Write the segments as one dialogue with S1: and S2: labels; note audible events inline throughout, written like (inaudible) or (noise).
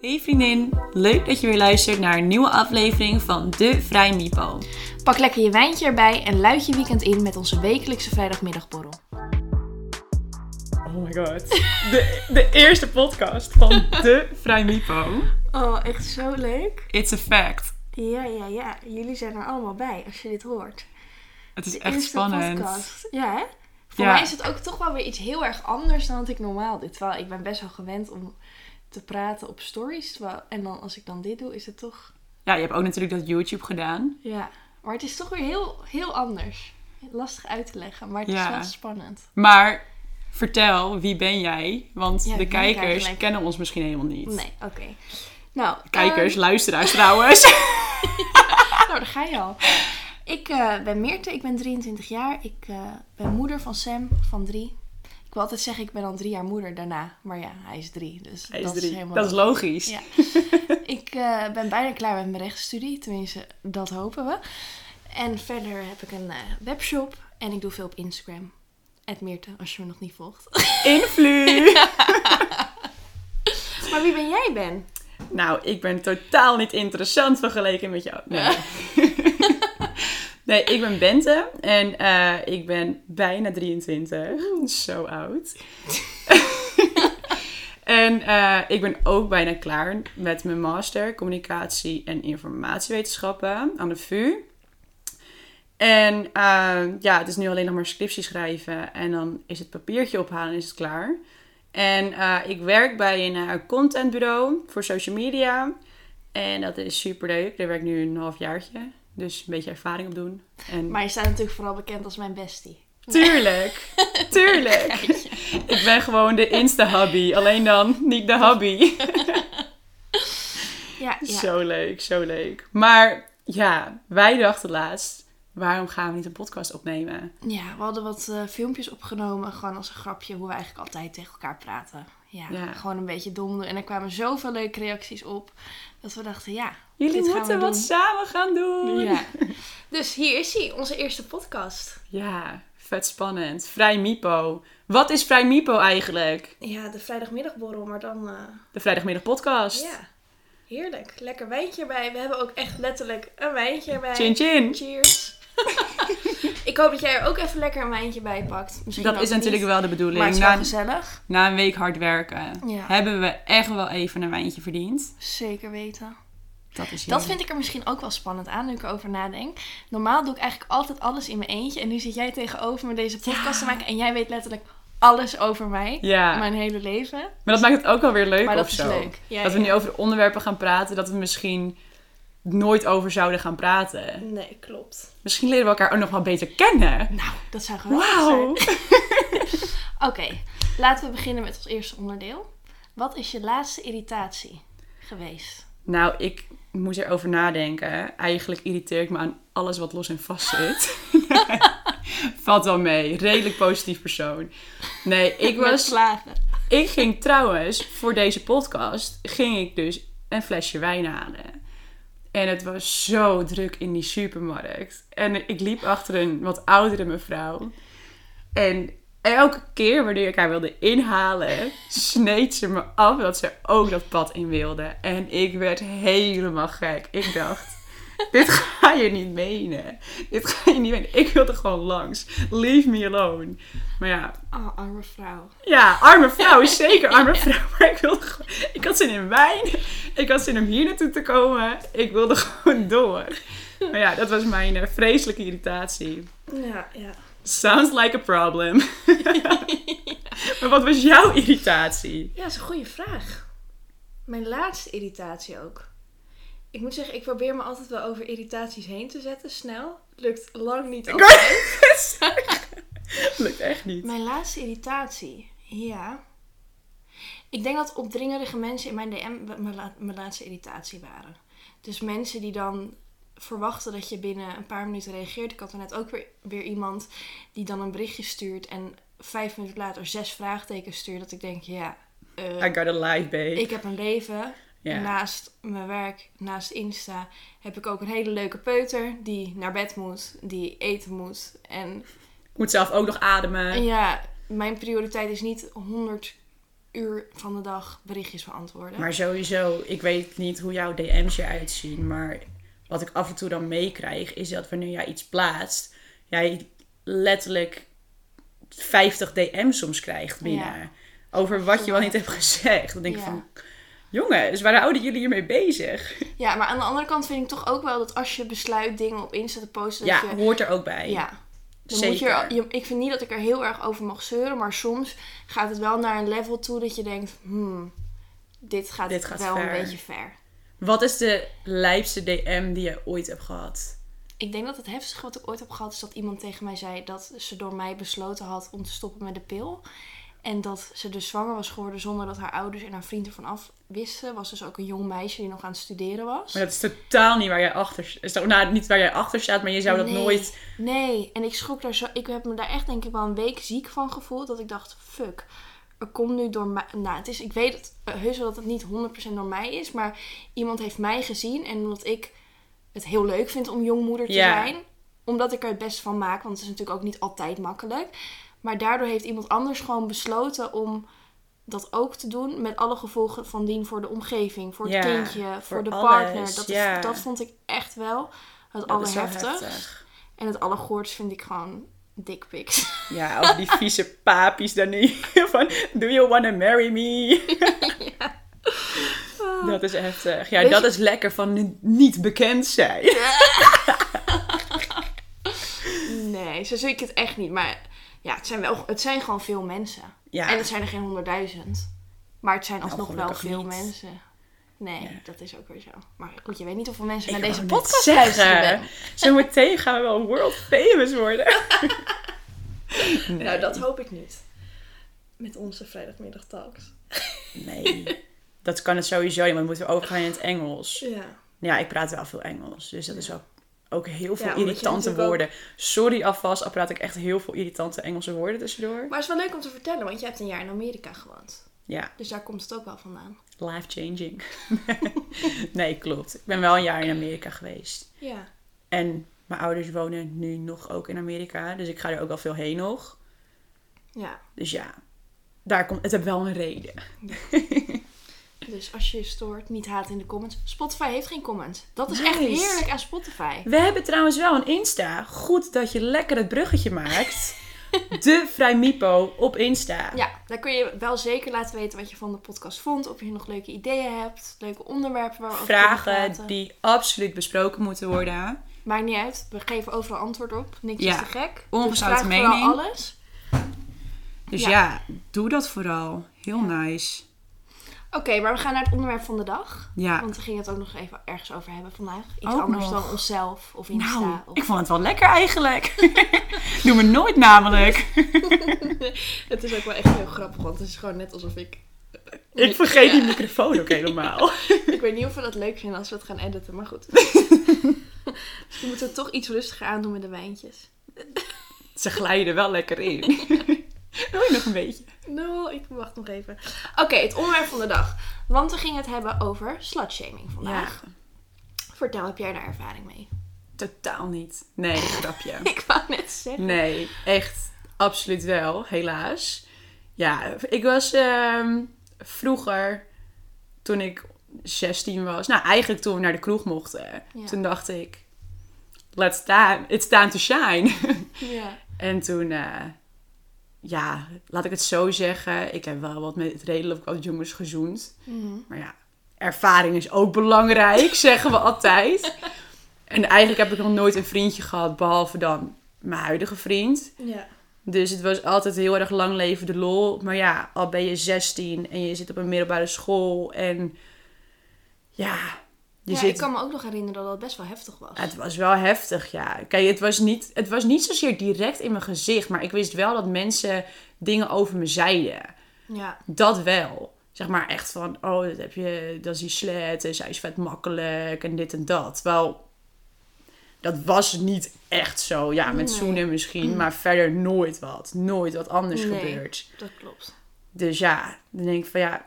S1: Hey vriendin, leuk dat je weer luistert naar een nieuwe aflevering van De Vrij Mipo.
S2: Pak lekker je wijntje erbij en luid je weekend in met onze wekelijkse vrijdagmiddagborrel.
S1: Oh my god. De, de eerste podcast van De Vrij Mipo.
S2: Oh, echt zo leuk.
S1: It's a fact.
S2: Ja, ja, ja. Jullie zijn er allemaal bij als je dit hoort.
S1: Het is
S2: De
S1: echt
S2: eerste
S1: spannend.
S2: podcast. Ja, hè? Voor
S1: Ja.
S2: mij is het ook toch wel weer iets heel erg anders dan wat ik normaal doe. Terwijl ik ben best wel gewend om te praten op stories. terwijl- En dan als ik dan dit doe, is het toch...
S1: Ja, je hebt ook natuurlijk dat YouTube gedaan.
S2: Ja. Maar het is toch weer heel, heel anders. Lastig uit te leggen, maar het
S1: Ja.
S2: is wel spannend.
S1: Maar vertel, wie ben jij? Want
S2: Ja,
S1: de
S2: wie ben ik
S1: kijkers
S2: eigenlijk?
S1: kennen ons misschien helemaal niet.
S2: Nee, oké. Nou,
S1: Kijkers, luisteraars (laughs) trouwens.
S2: Nou, daar ga je al. Ik eh, ben Meerte, ik ben 23 jaar. Ik eh, ben moeder van Sam, van drie. Ik wil altijd zeggen, ik ben al drie jaar moeder daarna. Maar ja, hij is drie, dus
S1: Hij is
S2: dat
S1: drie.
S2: is helemaal...
S1: dat is logisch.
S2: Ja. Ik eh, ben bijna klaar met mijn rechtsstudie, tenminste, dat hopen we. En verder heb ik een eh, webshop en ik doe veel op Instagram. Ed Meerte, als je me nog niet volgt. (laughs)
S1: Invloed!
S2: maar wie ben jij, Ben?
S1: Nou, ik ben totaal niet interessant vergeleken met jou. Nee, nee ik ben Bente en eh, ik ben bijna 23. Zo oud. en eh, ik ben ook bijna klaar met mijn master communicatie en informatiewetenschappen aan de VU. En eh, ja, het is nu alleen nog maar scriptie schrijven en dan is het papiertje ophalen en is het klaar. En eh, ik werk bij een eh, contentbureau voor social media. En dat is super leuk. Daar werk ik nu een halfjaartje. Dus een beetje ervaring op doen. En
S2: Maar je staat natuurlijk vooral bekend als mijn bestie.
S1: tuurlijk, tuurlijk. ik ben gewoon de Insta-hubby. Alleen dan niet de hubby.
S2: Ja, ja.
S1: Zo leuk, zo leuk. Maar ja, wij dachten laatst, waarom gaan we niet een podcast opnemen?
S2: Ja, we hadden wat eh, filmpjes opgenomen, gewoon als een grapje, hoe we eigenlijk altijd tegen elkaar praten. Ja,
S1: Ja.
S2: gewoon een beetje dom doen. En er kwamen zoveel leuke reacties op, dat we dachten, ja,
S1: Jullie
S2: dit gaan
S1: moeten
S2: we
S1: wat
S2: doen.
S1: samen gaan doen.
S2: (laughs) Ja. Dus hier is hij, onze eerste podcast.
S1: ja, vet spannend. Vrij Mipo. Wat is Vrij Mipo eigenlijk?
S2: Ja, de vrijdagmiddagborrel, maar dan, eh,
S1: De vrijdagmiddag podcast.
S2: heerlijk. Lekker wijntje erbij. We hebben ook echt letterlijk een wijntje erbij.
S1: Chin chin.
S2: Cheers. (laughs) Ik hoop dat jij er ook even lekker een wijntje bij pakt. Misschien
S1: Dat is natuurlijk wel de bedoeling.
S2: Maar het is wel Nou,
S1: na,
S2: gezellig.
S1: na een week hard werken
S2: Ja.
S1: hebben we echt wel even een wijntje verdiend.
S2: Zeker weten.
S1: Dat is
S2: Dat vind ik er misschien ook wel spannend aan, nu ik erover nadenk. Normaal doe ik eigenlijk altijd alles in mijn eentje. En nu zit jij tegenover me deze podcast te maken. En jij weet letterlijk alles over mij.
S1: Ja,
S2: Mijn hele leven.
S1: maar dat maakt het ook wel weer leuk
S2: maar dat
S1: of
S2: is
S1: zo.
S2: leuk. Ja,
S1: dat we
S2: ja.
S1: nu over onderwerpen gaan praten dat we misschien nooit over zouden gaan praten.
S2: Nee, klopt.
S1: Misschien leren we elkaar ook nog wel beter kennen.
S2: Nou, dat zou geweldig zijn.
S1: Wauw.
S2: Oké, laten we beginnen met ons eerste onderdeel. Wat is je laatste irritatie geweest?
S1: (laughs) Nou, ik moest erover nadenken. Eigenlijk irriteer ik me aan alles wat los en vast zit. (laughs) Valt wel mee. Redelijk positief persoon. Nee, ik
S2: Met
S1: was...
S2: slagen.
S1: Ik ging trouwens, voor deze podcast, ging ik dus een flesje wijn halen. En het was zo druk in die supermarkt. En ik liep achter een wat oudere mevrouw. En elke keer wanneer ik haar wilde inhalen, sneed ze me af dat ze ook dat pad in wilde. En ik werd helemaal gek. Ik dacht, dit ga je niet menen. Dit ga je niet menen. Ik wilde gewoon langs. Leave me alone. Maar ja,
S2: Oh, arme vrouw.
S1: ja, arme vrouw, is zeker arme vrouw. Maar ik, wilde gewoon, ik had zin in wijn. Ik had zin om hier naartoe te komen. Ik wilde (laughs) gewoon door. Maar ja, dat was mijn eh, vreselijke irritatie.
S2: Ja, ja.
S1: Sounds like a problem. maar wat was jouw irritatie?
S2: Ja, dat is een goede vraag. Mijn laatste irritatie ook. Ik moet zeggen, ik probeer me altijd wel over irritaties heen te zetten, snel. Lukt lang niet
S1: Ik wou het zeggen. Lukt echt niet.
S2: Mijn laatste irritatie, ja. Ik denk dat opdringerige mensen in mijn DM w- mijn, la- mijn laatste irritatie waren. Dus mensen die dan verwachten dat je binnen een paar minuten reageert. Ik had er net ook weer, weer iemand die dan een berichtje stuurt en vijf minuten later zes vraagtekens stuurt. Dat ik denk, ja, eh,
S1: I got a life, babe.
S2: ik heb een leven.
S1: Ja.
S2: Naast mijn werk, naast Insta, heb ik ook een hele leuke peuter die naar bed moet, die eten moet. En
S1: Moet zelf ook nog ademen.
S2: ja, mijn prioriteit is niet 100 uur van de dag berichtjes beantwoorden.
S1: Maar sowieso, ik weet niet hoe jouw DM's eruit zien. Maar wat ik af en toe dan meekrijg, is dat wanneer jij iets plaatst, jij letterlijk 50 DM's soms krijgt binnen.
S2: Ja.
S1: Over wat je wel niet hebt gezegd. Dan denk ik
S2: Ja.
S1: van, jongens, waar houden jullie hiermee bezig?
S2: Ja, maar aan de andere kant vind ik toch ook wel dat als je besluit dingen op Insta te posten, dat
S1: ja,
S2: je...
S1: hoort er ook bij.
S2: Ja. Dan
S1: Zeker.
S2: Moet je, er- je- ik vind niet dat ik er heel erg over mag zeuren, maar soms gaat het wel naar een level toe dat je denkt, hmm, dit gaat,
S1: Dit gaat
S2: wel
S1: ver.
S2: een beetje ver.
S1: Wat is de lijpste DM die je ooit hebt gehad?
S2: Ik denk dat het heftigste wat ik ooit heb gehad is dat iemand tegen mij zei dat ze door mij besloten had om te stoppen met de pil. En dat ze dus zwanger was geworden zonder dat haar ouders en haar vriend ervan af wisten. Was dus ook een jong meisje die nog aan het studeren was.
S1: Maar dat is totaal niet waar jij achter is toch- Nou, niet waar jij achter staat, maar je zou dat
S2: Nee,
S1: nooit...
S2: Nee, en ik schrok daar zo. Ik heb me daar echt, denk ik, wel een week ziek van gevoeld. Dat ik dacht: fuck, er komt nu door mij. Nou, het is, ik weet het, eh, heus wel dat het niet 100% door mij is. Maar iemand heeft mij gezien. En omdat ik het heel leuk vind om jongmoeder te
S1: Ja.
S2: zijn, omdat ik er het beste van maak, want het is natuurlijk ook niet altijd makkelijk. Maar daardoor heeft iemand anders gewoon besloten om dat ook te doen. Met alle gevolgen van dien voor de omgeving, voor het
S1: Ja,
S2: kindje, voor,
S1: voor
S2: de
S1: alles,
S2: partner. Dat, is-
S1: ja.
S2: dat vond ik echt wel het
S1: Dat is wel
S2: allerheftigst. En het allergoorst vind ik gewoon dick pics. (laughs)
S1: Ja, of die vieze papies dan nu. (laughs) Van, do you wanna marry
S2: (laughs)
S1: me? Dat is heftig. Ja,
S2: Weet
S1: dat
S2: je-
S1: is lekker van ni- niet bekend zijn.
S2: Nee, zo zie ik het echt niet. Maar ja, het zijn, wel, het zijn gewoon veel mensen.
S1: Ja. Nou,
S2: En het zijn er geen honderdduizend. Maar het zijn alsnog wel
S1: gelukkig
S2: veel
S1: niet.
S2: mensen. Nee, dat is ook weer zo. Maar goed, je weet niet hoeveel mensen naar
S1: Ik
S2: deze
S1: wou net
S2: podcast
S1: Oh, zeggen,
S2: luisteren. Ben.
S1: Zometeen gaan we wel world famous worden.
S2: Nou, dat hoop ik niet. Met onze vrijdagmiddagtalks.
S1: Nee, dat kan het sowieso niet, want we moeten overgaan in het Engels.
S2: Ja.
S1: Ja, ik praat wel veel Engels, dus dat is wel ook heel veel
S2: Ja, omdat je
S1: irritante
S2: natuurlijk ook-
S1: woorden. Sorry alvast, al praat ik echt heel veel irritante Engelse woorden tussendoor.
S2: Maar het is wel leuk om te vertellen, want je hebt een jaar in Amerika gewoond.
S1: Ja,
S2: Dus daar komt het ook wel vandaan.
S1: life changing. (laughs) nee, klopt. Ik ben wel een jaar in Amerika geweest.
S2: Ja.
S1: En mijn ouders wonen nu nog ook in Amerika. Dus ik ga er ook wel veel heen nog.
S2: Ja.
S1: Dus ja, daar komt, het heeft wel een reden.
S2: Dus als je je stoort, niet haat in de comments. Spotify heeft geen comments. Dat is
S1: Nice.
S2: echt heerlijk aan Spotify.
S1: We hebben trouwens wel een Insta. Goed dat je lekker het bruggetje
S2: (laughs)
S1: maakt. De Vrijmipo op Insta.
S2: Ja, daar kun je wel zeker laten weten wat je van de podcast vond. Of je nog leuke ideeën hebt. Leuke onderwerpen waar we over kunnen
S1: Vragen
S2: praten.
S1: die absoluut besproken moeten worden.
S2: Maakt niet uit. We geven overal antwoord op. Niks
S1: Ja.
S2: is te gek.
S1: Ongezouten
S2: dus vraag vooral
S1: mening.
S2: alles.
S1: Dus
S2: Ja.
S1: ja, doe dat vooral. Heel nice.
S2: Oké, maar we gaan naar het onderwerp van de dag.
S1: Ja.
S2: Want we gingen het ook nog even ergens over hebben vandaag. Iets
S1: Ook
S2: anders
S1: nog.
S2: dan onszelf of Insta.
S1: Nou,
S2: of...
S1: ik vond het wel lekker
S2: (laughs)
S1: eigenlijk. Doe me nooit namelijk.
S2: Het is ook wel echt heel grappig, want het is gewoon net alsof ik...
S1: Ik vergeet die microfoon ook helemaal.
S2: Ik weet niet of we dat leuk vinden als we het gaan editen, maar (laughs) goed. we moeten het toch iets rustiger aandoen met de wijntjes.
S1: (laughs) Ze glijden wel lekker in. (laughs) Wil je nog een beetje?
S2: Nou, ik wacht nog even. Oké, het onderwerp van de dag. Want we gingen het hebben over slutshaming vandaag. Vertel, heb jij daar ervaring mee? (laughs)
S1: Totaal niet. Nee, grapje.
S2: Ik wou net zeggen.
S1: Nee, echt. Absoluut wel, helaas. Ja, ik was ehm, vroeger, toen ik 16 was, nou eigenlijk toen we naar de kroeg mochten,
S2: Ja.
S1: toen dacht ik, let's time, it's time to shine.
S2: Ja.
S1: en toen, eh, ja, laat ik het zo zeggen, ik heb wel wat met redelijk wat jongens gezoend.
S2: Mhm.
S1: Maar ja, ervaring is ook belangrijk, (laughs) zeggen we altijd. En eigenlijk heb ik nog nooit een vriendje gehad, behalve dan mijn huidige vriend.
S2: ja.
S1: Dus het was altijd heel erg lang leven de lol. Maar ja, al ben je 16 en je zit op een middelbare school en ja, je
S2: ja,
S1: zit...
S2: ik kan me ook nog herinneren dat het best wel heftig was.
S1: Het was wel heftig, ja. Kijk, het was, niet, het was niet zozeer direct in mijn gezicht, maar ik wist wel dat mensen dingen over me zeiden.
S2: Ja.
S1: Dat wel. Zeg maar echt van, oh, dat, heb je, dat is die slet en zij is vet makkelijk en dit en dat. Wel, dat was niet echt zo. Ja, met
S2: Nee. Mm.
S1: zoenen misschien, maar verder nooit wat. Nooit wat anders
S2: Nee.
S1: gebeurd.
S2: Dat klopt.
S1: Dus ja, dan denk ik van ja,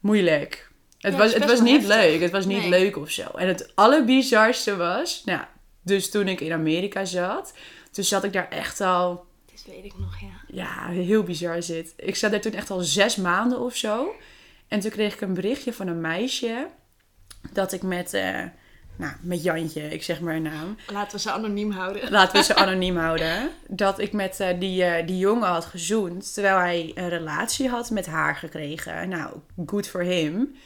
S1: moeilijk. Het
S2: Ja, het
S1: was,
S2: is
S1: het
S2: best
S1: was
S2: wel
S1: niet
S2: heftig.
S1: leuk, het was niet
S2: Nee.
S1: leuk of zo. En het allerbizarste was, nou, dus toen ik in Amerika zat, toen zat ik daar echt al
S2: Dit weet ik nog, ja.
S1: ja, heel bizar is dit. Ik zat daar toen echt al zes maanden of zo. En toen kreeg ik een berichtje van een meisje dat ik met, eh, nou, met Jantje, ik zeg maar haar naam.
S2: Laten we ze anoniem houden.
S1: Laten we ze anoniem houden. Dat ik met eh, die, eh, die jongen had gezoend. Terwijl hij een relatie had met haar gekregen. Nou, good for him.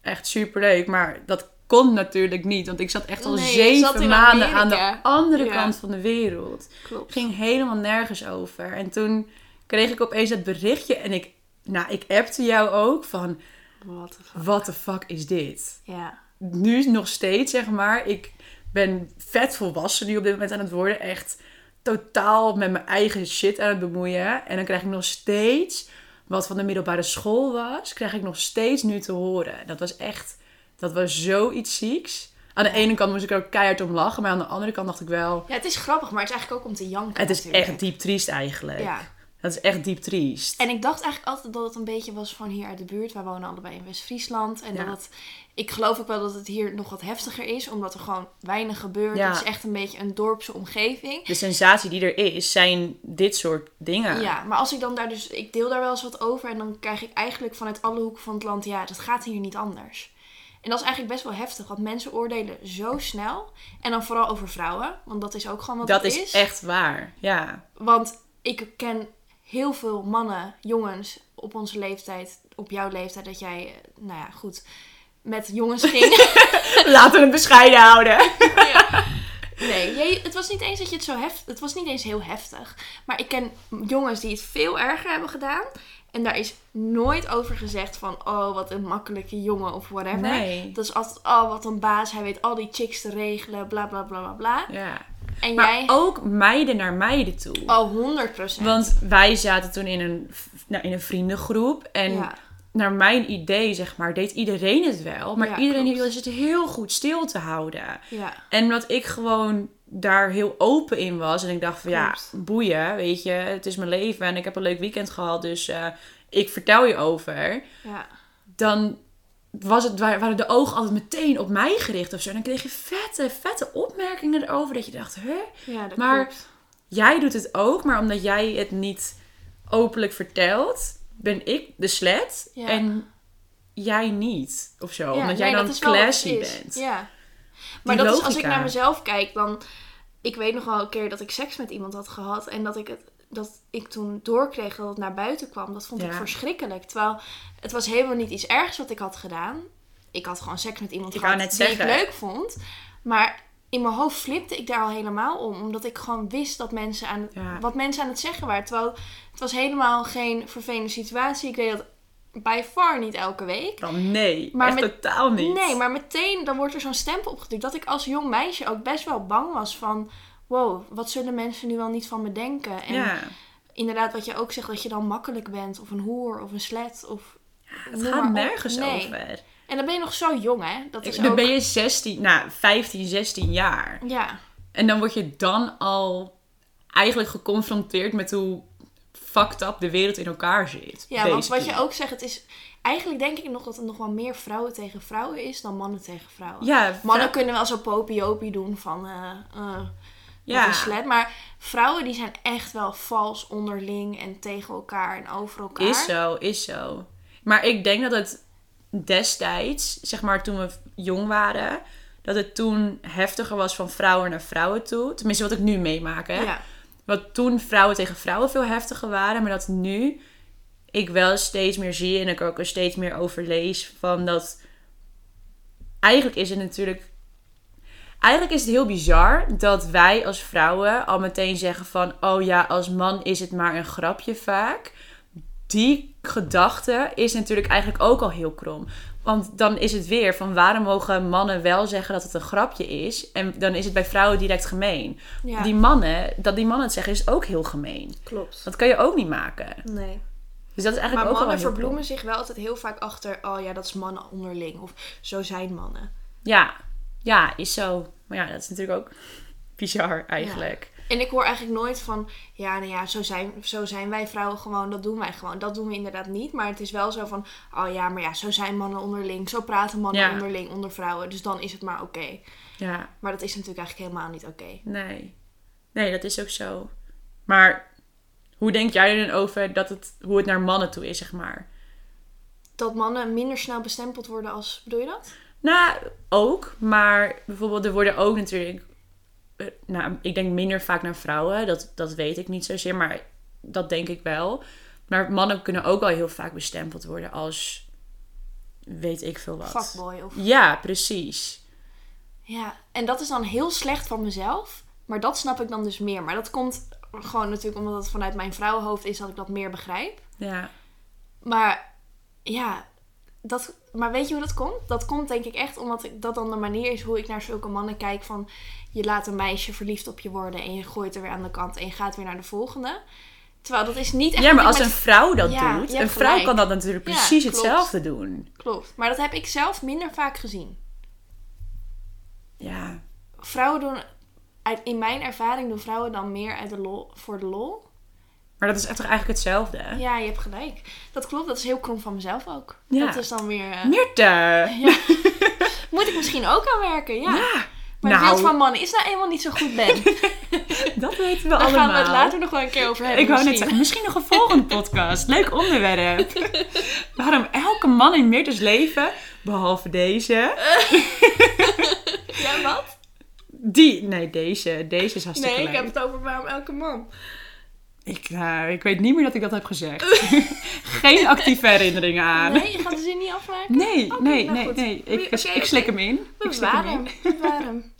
S1: Echt superleuk. Maar dat kon natuurlijk niet. Want ik zat echt al
S2: Nee, je zat
S1: zeven
S2: in
S1: maanden aan
S2: Amerika.
S1: de andere
S2: Ja.
S1: kant van de wereld.
S2: Klopt.
S1: Ging helemaal nergens over. En toen kreeg ik opeens dat berichtje. En ik, nou, ik appte jou ook van...
S2: Wat een grap.
S1: What the fuck is dit?
S2: Ja.
S1: nu nog steeds, zeg maar. Ik ben vet volwassen nu op dit moment aan het worden. Echt totaal met mijn eigen shit aan het bemoeien. En dan krijg ik nog steeds, wat van de middelbare school was, krijg ik nog steeds nu te horen. Dat was echt, dat was zoiets zieks. Aan de ene kant moest ik er ook keihard om lachen, maar aan de andere kant dacht ik wel...
S2: ja, het is grappig, maar het is eigenlijk ook om te janken.
S1: Het is
S2: natuurlijk.
S1: echt diep triest eigenlijk.
S2: Ja.
S1: Dat is echt diep triest.
S2: En ik dacht eigenlijk altijd dat het een beetje was van hier uit de buurt. Wij wonen allebei in West-Friesland. En
S1: Ja.
S2: dat het- ik geloof ook wel dat het hier nog wat heftiger is, omdat er gewoon weinig gebeurt.
S1: Ja.
S2: Het is echt een beetje een dorpse omgeving.
S1: De sensatie die er is, zijn dit soort dingen.
S2: Ja, maar als ik dan daar dus, ik deel daar wel eens wat over en dan krijg ik eigenlijk vanuit alle hoeken van het land, ja, dat gaat hier niet anders. En dat is eigenlijk best wel heftig, want mensen oordelen zo snel. En dan vooral over vrouwen, want dat is ook gewoon wat
S1: dat
S2: het
S1: is,
S2: is.
S1: echt waar. Ja. (laughs)
S2: Want ik ken heel veel mannen, jongens, op onze leeftijd, op jouw leeftijd, dat jij, eh, nou ja, goed, met
S1: (laughs)
S2: jongens ging.
S1: Laten we het bescheiden houden.
S2: nee, jij, het was niet eens dat je het zo heft, het was niet eens heel heftig. Maar ik ken jongens die het veel erger hebben gedaan. En daar is nooit over gezegd van, oh, wat een makkelijke jongen of whatever.
S1: Nee.
S2: Dat is altijd, oh, wat een baas, hij weet al die chicks te regelen, bla bla bla bla bla.
S1: Ja.
S2: En
S1: Maar
S2: jij,
S1: ook meiden naar meiden toe.
S2: oh, 100 procent.
S1: Want wij zaten toen in een, v- nou, in een vriendengroep. En
S2: Ja.
S1: naar mijn idee, zeg maar, deed iedereen het wel. Maar
S2: Ja,
S1: iedereen
S2: klopt.
S1: hield het heel goed stil te houden.
S2: Ja,
S1: En omdat ik gewoon daar heel open in was. En ik dacht van ja,
S2: Klopt.
S1: boeien, weet je. Het is mijn leven en ik heb een leuk weekend gehad. Dus eh, ik vertel je over.
S2: ja.
S1: Dan was het, wa- waren de ogen altijd meteen op mij gericht of zo. En dan kreeg je vette, vette opmerkingen erover. Dat je dacht, huh?
S2: Ja, dat
S1: Maar-
S2: klopt.
S1: jij doet het ook, maar omdat jij het niet openlijk vertelt, ben ik de slet
S2: Ja.
S1: en jij niet. Of zo.
S2: Ja,
S1: omdat
S2: nee,
S1: jij dan
S2: dat is wel wat het
S1: classy
S2: is.
S1: bent.
S2: Ja. Maar dat is als ik
S1: logica.
S2: naar mezelf kijk, dan. Ik weet nog wel een keer dat ik seks met iemand had gehad en dat ik het. Dat ik toen doorkreeg dat het naar buiten kwam. Dat vond ik
S1: Ja.
S2: verschrikkelijk. Terwijl het was helemaal niet iets ergs wat ik had gedaan. Ik had gewoon seks met iemand
S1: Ik wou
S2: gehad
S1: net
S2: die
S1: zeggen.
S2: ik leuk vond. Maar in mijn hoofd flipte ik daar al helemaal om. Omdat ik gewoon wist dat mensen aan,
S1: Ja.
S2: wat mensen aan het zeggen waren. Terwijl het was helemaal geen vervelende situatie. Ik deed dat by far niet elke week.
S1: Dan nee,
S2: Maar
S1: echt
S2: met-
S1: totaal niet.
S2: Nee, maar meteen dan wordt er zo'n stempel opgedrukt. Dat ik als jong meisje ook best wel bang was van... Wow, wat zullen mensen nu wel niet van me denken? En
S1: ja,
S2: inderdaad wat je ook zegt, dat je dan makkelijk bent. Of een hoer, of een slet. Of...
S1: het
S2: noem
S1: gaat
S2: maar op.
S1: nergens
S2: Nee.
S1: over.
S2: En dan ben je nog zo jong, hè? Dat is
S1: Dan
S2: ook...
S1: ben je 16, nou 15, 16 jaar.
S2: Ja,
S1: En dan word je dan al eigenlijk geconfronteerd met hoe fucked up de wereld in elkaar zit.
S2: ja want wat
S1: basically.
S2: je ook zegt, het is... Eigenlijk denk ik nog dat het nog wel meer vrouwen tegen vrouwen is dan mannen tegen vrouwen.
S1: Ja,
S2: Mannen kunnen wel zo popiopie doen van... eh, eh, ja. een slet. Maar vrouwen die zijn echt wel vals onderling en tegen elkaar en over elkaar.
S1: Is zo, is zo. Maar ik denk dat het destijds, zeg maar toen we jong waren, dat het toen heftiger was van vrouwen naar vrouwen toe. Tenminste, wat ik nu meemaak. Hè?
S2: Ja.
S1: Wat toen vrouwen tegen vrouwen veel heftiger waren, maar dat nu ik wel steeds meer zie en ik er ook er steeds meer over lees van dat eigenlijk is het natuurlijk eigenlijk is het heel bizar dat wij als vrouwen al meteen zeggen van oh ja als man is het maar een grapje vaak die gedachte is natuurlijk eigenlijk ook al heel krom want dan is het weer van waarom mogen mannen wel zeggen dat het een grapje is en dan is het bij vrouwen direct gemeen
S2: Ja.
S1: die mannen dat die mannen het zeggen is ook heel gemeen
S2: Klopt.
S1: dat kan je ook niet maken
S2: Nee.
S1: dus dat is eigenlijk
S2: Maar
S1: ook al
S2: mannen
S1: heel krom.
S2: verbloemen zich wel altijd heel vaak achter... oh ja, dat is mannen onderling. Of zo zijn mannen.
S1: Ja, ja, is zo. Maar ja, dat is natuurlijk ook bizar eigenlijk.
S2: En ik hoor eigenlijk nooit van... ja, nou ja, zo zijn, zo zijn wij vrouwen gewoon. Dat doen wij gewoon. Dat doen we inderdaad niet. Maar het is wel zo van... oh ja, maar ja, zo zijn mannen onderling. Zo praten mannen
S1: Ja.
S2: onderling onder vrouwen. Dus dan is het maar oké.
S1: Ja,
S2: Maar dat is natuurlijk eigenlijk helemaal niet oké.
S1: nee. Nee, dat is ook zo. Maar Hoe denk jij er dan over dat het, hoe het naar mannen toe is, zeg maar?
S2: Dat mannen minder snel bestempeld worden als... Bedoel je dat?
S1: Nou, ook. Maar bijvoorbeeld, er worden ook natuurlijk... eh, Nou, ik denk minder vaak naar vrouwen. Dat, dat weet ik niet zozeer, maar dat denk ik wel. Maar mannen kunnen ook al heel vaak bestempeld worden als... Weet ik veel wat.
S2: Fuckboy of...
S1: Ja, precies.
S2: Ja, en dat is dan heel slecht van mezelf. Maar dat snap ik dan dus meer. Maar dat komt gewoon natuurlijk omdat het vanuit mijn vrouwenhoofd is dat ik dat meer begrijp.
S1: Ja.
S2: Maar ja, dat, maar weet je hoe dat komt? Dat komt denk ik echt omdat ik, dat dan de manier is hoe ik naar zulke mannen kijk. Van je laat een meisje verliefd op je worden en je gooit er weer aan de kant en je gaat weer naar de volgende. Terwijl dat is niet echt...
S1: ja, maar
S2: wat
S1: als
S2: ik
S1: een
S2: met-
S1: vrouw dat
S2: Ja,
S1: doet...
S2: je hebt
S1: Een vrouw
S2: gelijk.
S1: kan dat natuurlijk
S2: Ja,
S1: precies
S2: klopt.
S1: hetzelfde doen.
S2: Klopt, maar dat heb ik zelf minder vaak gezien.
S1: Ja.
S2: Vrouwen doen, uit, in mijn ervaring doen vrouwen dan meer uit de lol, voor de lol.
S1: Maar dat is echt toch eigenlijk hetzelfde?
S2: Ja, je hebt gelijk. Dat klopt, dat is heel krom van mezelf ook.
S1: Ja.
S2: Dat is dan weer... eh,
S1: Meerte!
S2: ja. Moet ik misschien ook aan werken, ja.
S1: Ja.
S2: Maar
S1: nou,
S2: het beeld van mannen is nou eenmaal niet zo goed, Ben.
S1: (laughs) dat weten we
S2: Daar
S1: allemaal.
S2: gaan we het later nog wel een keer over hebben.
S1: Ik wou net
S2: misschien.
S1: zeggen, misschien nog een volgende podcast. Leuk
S2: (laughs)
S1: onderwerp. Waarom elke man in Meertes leven, behalve deze,
S2: Ja, wat?
S1: die... Nee, deze. Deze is hartstikke
S2: Nee, ik
S1: leuk.
S2: heb het over waarom elke man.
S1: Ik, nou, ik weet niet meer dat ik dat heb gezegd. (laughs) Geen actieve herinneringen aan. Ah, Nee,
S2: Nee, je gaat de zin niet afmaken.
S1: nee,
S2: Oké,
S1: nee,
S2: nou
S1: nee.
S2: goed.
S1: Ik,
S2: Oké, oké.
S1: ik slik hem in.
S2: We
S1: ik slik hem
S2: bewaren
S1: in.
S2: hem. We bewaren hem.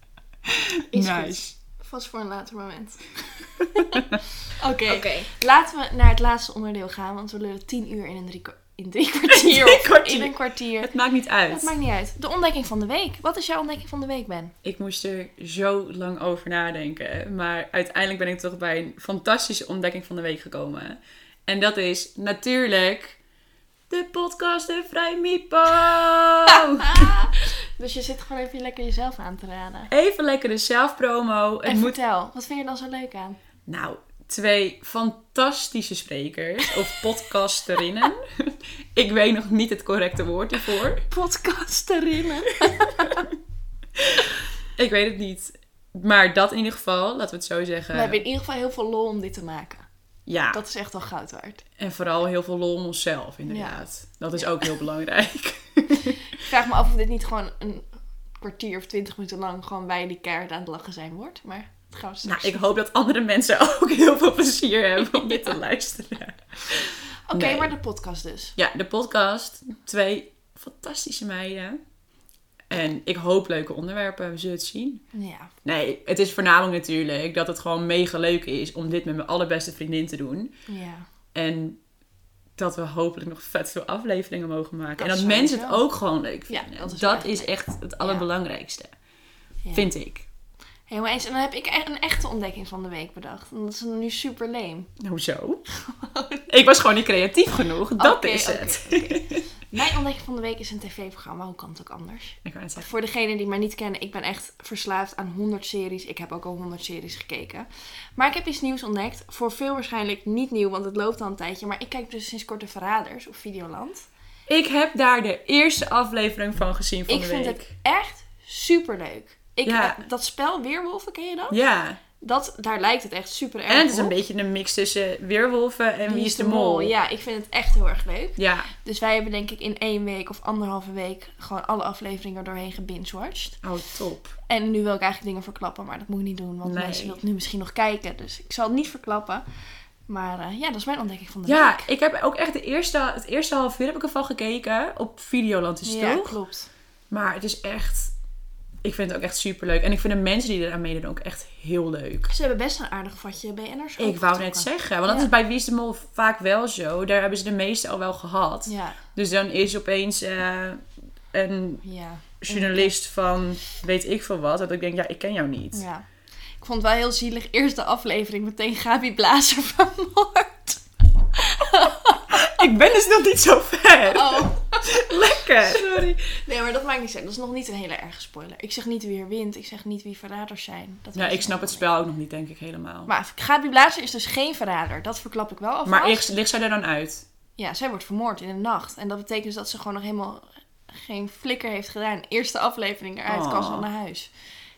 S2: Is goed.
S1: Nice.
S2: Vast voor een later moment. (laughs) Oké. Laten we naar het laatste onderdeel gaan, want we lullen tien uur in een drie, kwa- in drie kwartier.
S1: Drie
S2: of
S1: kwartier.
S2: (laughs) In een kwartier.
S1: Het maakt niet uit.
S2: Dat maakt niet uit. De ontdekking van de week. Wat is jouw ontdekking van de week, Ben?
S1: Ik moest er zo lang over nadenken. Maar uiteindelijk ben ik toch bij een fantastische ontdekking van de week gekomen. En dat is natuurlijk de podcast De Vrij Mipo.
S2: Ah, dus je zit gewoon even lekker jezelf aan te raden.
S1: Even lekkere zelfpromo. Het
S2: En
S1: moet...
S2: vertel, wat vind je dan zo leuk aan?
S1: Nou, twee fantastische sprekers of podcasterinnen. ik weet nog niet het correcte woord hiervoor.
S2: Podcasterinnen.
S1: Eh. Ik weet het niet. Maar dat in ieder geval, laten we het zo zeggen.
S2: We hebben in ieder geval heel veel lol om dit te maken.
S1: Ja.
S2: Dat is echt wel goud waard.
S1: En vooral heel veel lol om onszelf, inderdaad. Dat is ook heel belangrijk.
S2: Ik vraag me af of dit niet gewoon een kwartier of twintig minuten lang gewoon wij die keihard aan het lachen zijn wordt. Maar dat gaan we straks.
S1: nou, ik hoop dat andere mensen (laughs) ook heel veel plezier hebben om dit te luisteren.
S2: zien. Oké,
S1: nee.
S2: maar de podcast dus.
S1: Ja, de podcast. Twee fantastische meiden. En ik hoop leuke onderwerpen. We zullen het zien.
S2: Ja.
S1: Nee, het is voornamelijk natuurlijk dat het gewoon mega leuk is om dit met mijn allerbeste vriendin te doen.
S2: Ja.
S1: En dat we hopelijk nog vet veel afleveringen mogen maken.
S2: Dat
S1: en dat
S2: sowieso.
S1: mensen het ook gewoon leuk
S2: Ja,
S1: vinden.
S2: dat
S1: dat
S2: is
S1: is,
S2: eigenlijk-
S1: echt het allerbelangrijkste.
S2: Ja.
S1: Vind ik.
S2: Helemaal eens. En dan heb ik echt een echte ontdekking van de week bedacht. En dat is nu super lame.
S1: Hoezo? (laughs) ik was gewoon niet creatief genoeg. Dat
S2: Oké,
S1: is
S2: oké,
S1: het.
S2: oké. Mijn ontdekking van de week is een tv-programma. Hoe kan het ook anders?
S1: Ik wou net zeggen.
S2: Voor degenen die mij niet kennen, ik ben echt verslaafd aan 100 series. Ik heb ook al 100 series gekeken. Maar ik heb iets nieuws ontdekt. Voor veel waarschijnlijk niet nieuw, want het loopt al een tijdje. Maar ik kijk dus sinds kort de Verraders op Videoland.
S1: Ik heb daar de eerste aflevering van gezien van
S2: ik
S1: de
S2: vind
S1: week.
S2: het echt superleuk. Ik,
S1: Ja.
S2: eh, dat spel Weerwolven, ken je dat?
S1: Ja,
S2: dat? Daar lijkt het echt super erg
S1: en het is een
S2: op.
S1: beetje een mix tussen weerwolven en wie is de mol. Ja.
S2: Ja, ik vind het echt heel erg leuk.
S1: ja.
S2: Dus wij hebben denk ik in één week of anderhalve week gewoon alle afleveringen er doorheen gebingewatcht.
S1: Oh, top.
S2: En nu wil ik eigenlijk dingen verklappen, maar dat moet ik niet doen, want
S1: Nee.
S2: mensen willen het nu misschien nog kijken. Dus ik zal het niet verklappen. Maar eh, ja, dat is mijn ontdekking van de
S1: Ja,
S2: week.
S1: ik heb ook echt de eerste, het eerste half uur heb ik ervan gekeken. Op Videoland is het
S2: ja,
S1: toch?
S2: klopt.
S1: Maar het is echt... Ik vind het ook echt superleuk. En ik vind de mensen die eraan meedoen ook echt heel leuk.
S2: Ze hebben best een aardig vatje BN'ers.
S1: Ik wou net zeggen, want dat
S2: Ja.
S1: is bij Wie is de Mol vaak wel zo. Daar hebben ze de meeste al wel gehad.
S2: Ja,
S1: Dus dan is opeens eh, een
S2: ja,
S1: journalist van weet ik veel wat. Dat ik denk, ja, ik ken jou niet.
S2: ja. Ik vond het wel heel zielig. Eerste aflevering meteen Gabi Blazer (laughs) vermoord.
S1: Ik ben dus nog niet zo ver.
S2: Oh,
S1: Lekker.
S2: sorry. Nee, maar dat maakt niet uit. Dat is nog niet een hele erge spoiler. Ik zeg niet wie er wint. Ik zeg niet wie verraders zijn. Dat
S1: Ja,
S2: weet
S1: ik
S2: je
S1: snap het
S2: helemaal
S1: spel ook nog niet, denk ik, helemaal.
S2: niet. Maar Gabi Blazer is dus geen verrader. Dat verklap ik wel alvast.
S1: Maar ligt, ligt zij er dan uit?
S2: Ja, zij wordt vermoord in de nacht. En dat betekent dus dat ze gewoon nog helemaal geen flikker heeft gedaan. Eerste aflevering eruit kan ze
S1: Oh.
S2: al naar huis.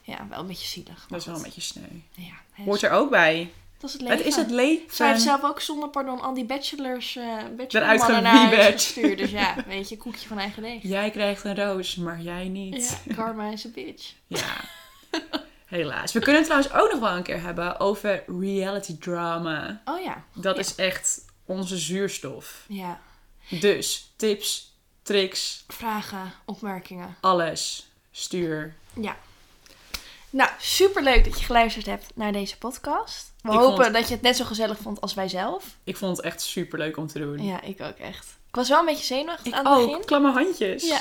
S2: Ja, wel een beetje zielig. maar
S1: Dat is wel een
S2: goed.
S1: beetje sneu.
S2: Ja, hè,
S1: Hoort er ook bij.
S2: dat Dat is het leven.
S1: Het is het leven.
S2: Zij heeft zelf ook zonder pardon al die bachelors, eh
S1: Eruit
S2: bachelormannen naar huis
S1: gewieberd.
S2: gestuurd. Dus
S1: (laughs)
S2: ja, weet je, koekje van eigen deeg.
S1: Jij krijgt een roos, maar jij niet.
S2: Ja, karma is a bitch.
S1: Ja. (laughs) Helaas. We kunnen het trouwens ook nog wel een keer hebben over reality drama.
S2: Oh ja.
S1: Dat
S2: Ja.
S1: is echt onze zuurstof.
S2: Ja.
S1: Dus tips, tricks,
S2: Vragen, opmerkingen.
S1: alles. Stuur.
S2: Ja. Nou, superleuk dat je geluisterd hebt naar deze podcast. We
S1: Ik
S2: hopen
S1: vond-
S2: dat je het net zo gezellig vond als wij zelf.
S1: Ik vond het echt super leuk om te doen.
S2: Ja, ik ook echt. Ik was wel een beetje zenuwachtig
S1: Mm. Ik
S2: aan het
S1: ook.
S2: begin.
S1: Klamme handjes.
S2: Ja.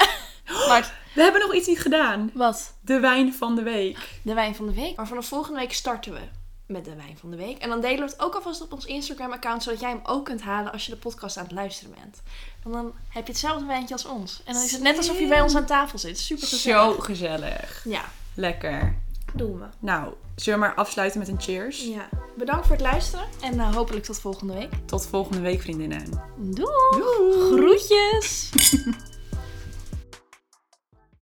S2: Maar
S1: We hebben nog iets niet gedaan.
S2: wat?
S1: De wijn van de week.
S2: De wijn van de week. Maar vanaf volgende week starten we met de wijn van de week. En dan delen we het ook alvast op ons Instagram-account, zodat jij hem ook kunt halen als je de podcast aan het luisteren bent. Want dan heb je hetzelfde wijntje als ons. En dan is het net alsof je bij ons aan tafel zit. Super
S1: Zo gezellig.
S2: Ja,
S1: Lekker.
S2: doen we.
S1: Nou, zullen we maar afsluiten met een cheers?
S2: Ja. Bedankt voor het luisteren en eh, hopelijk tot volgende week.
S1: Tot volgende week, vriendinnen.
S2: Doei! Groetjes!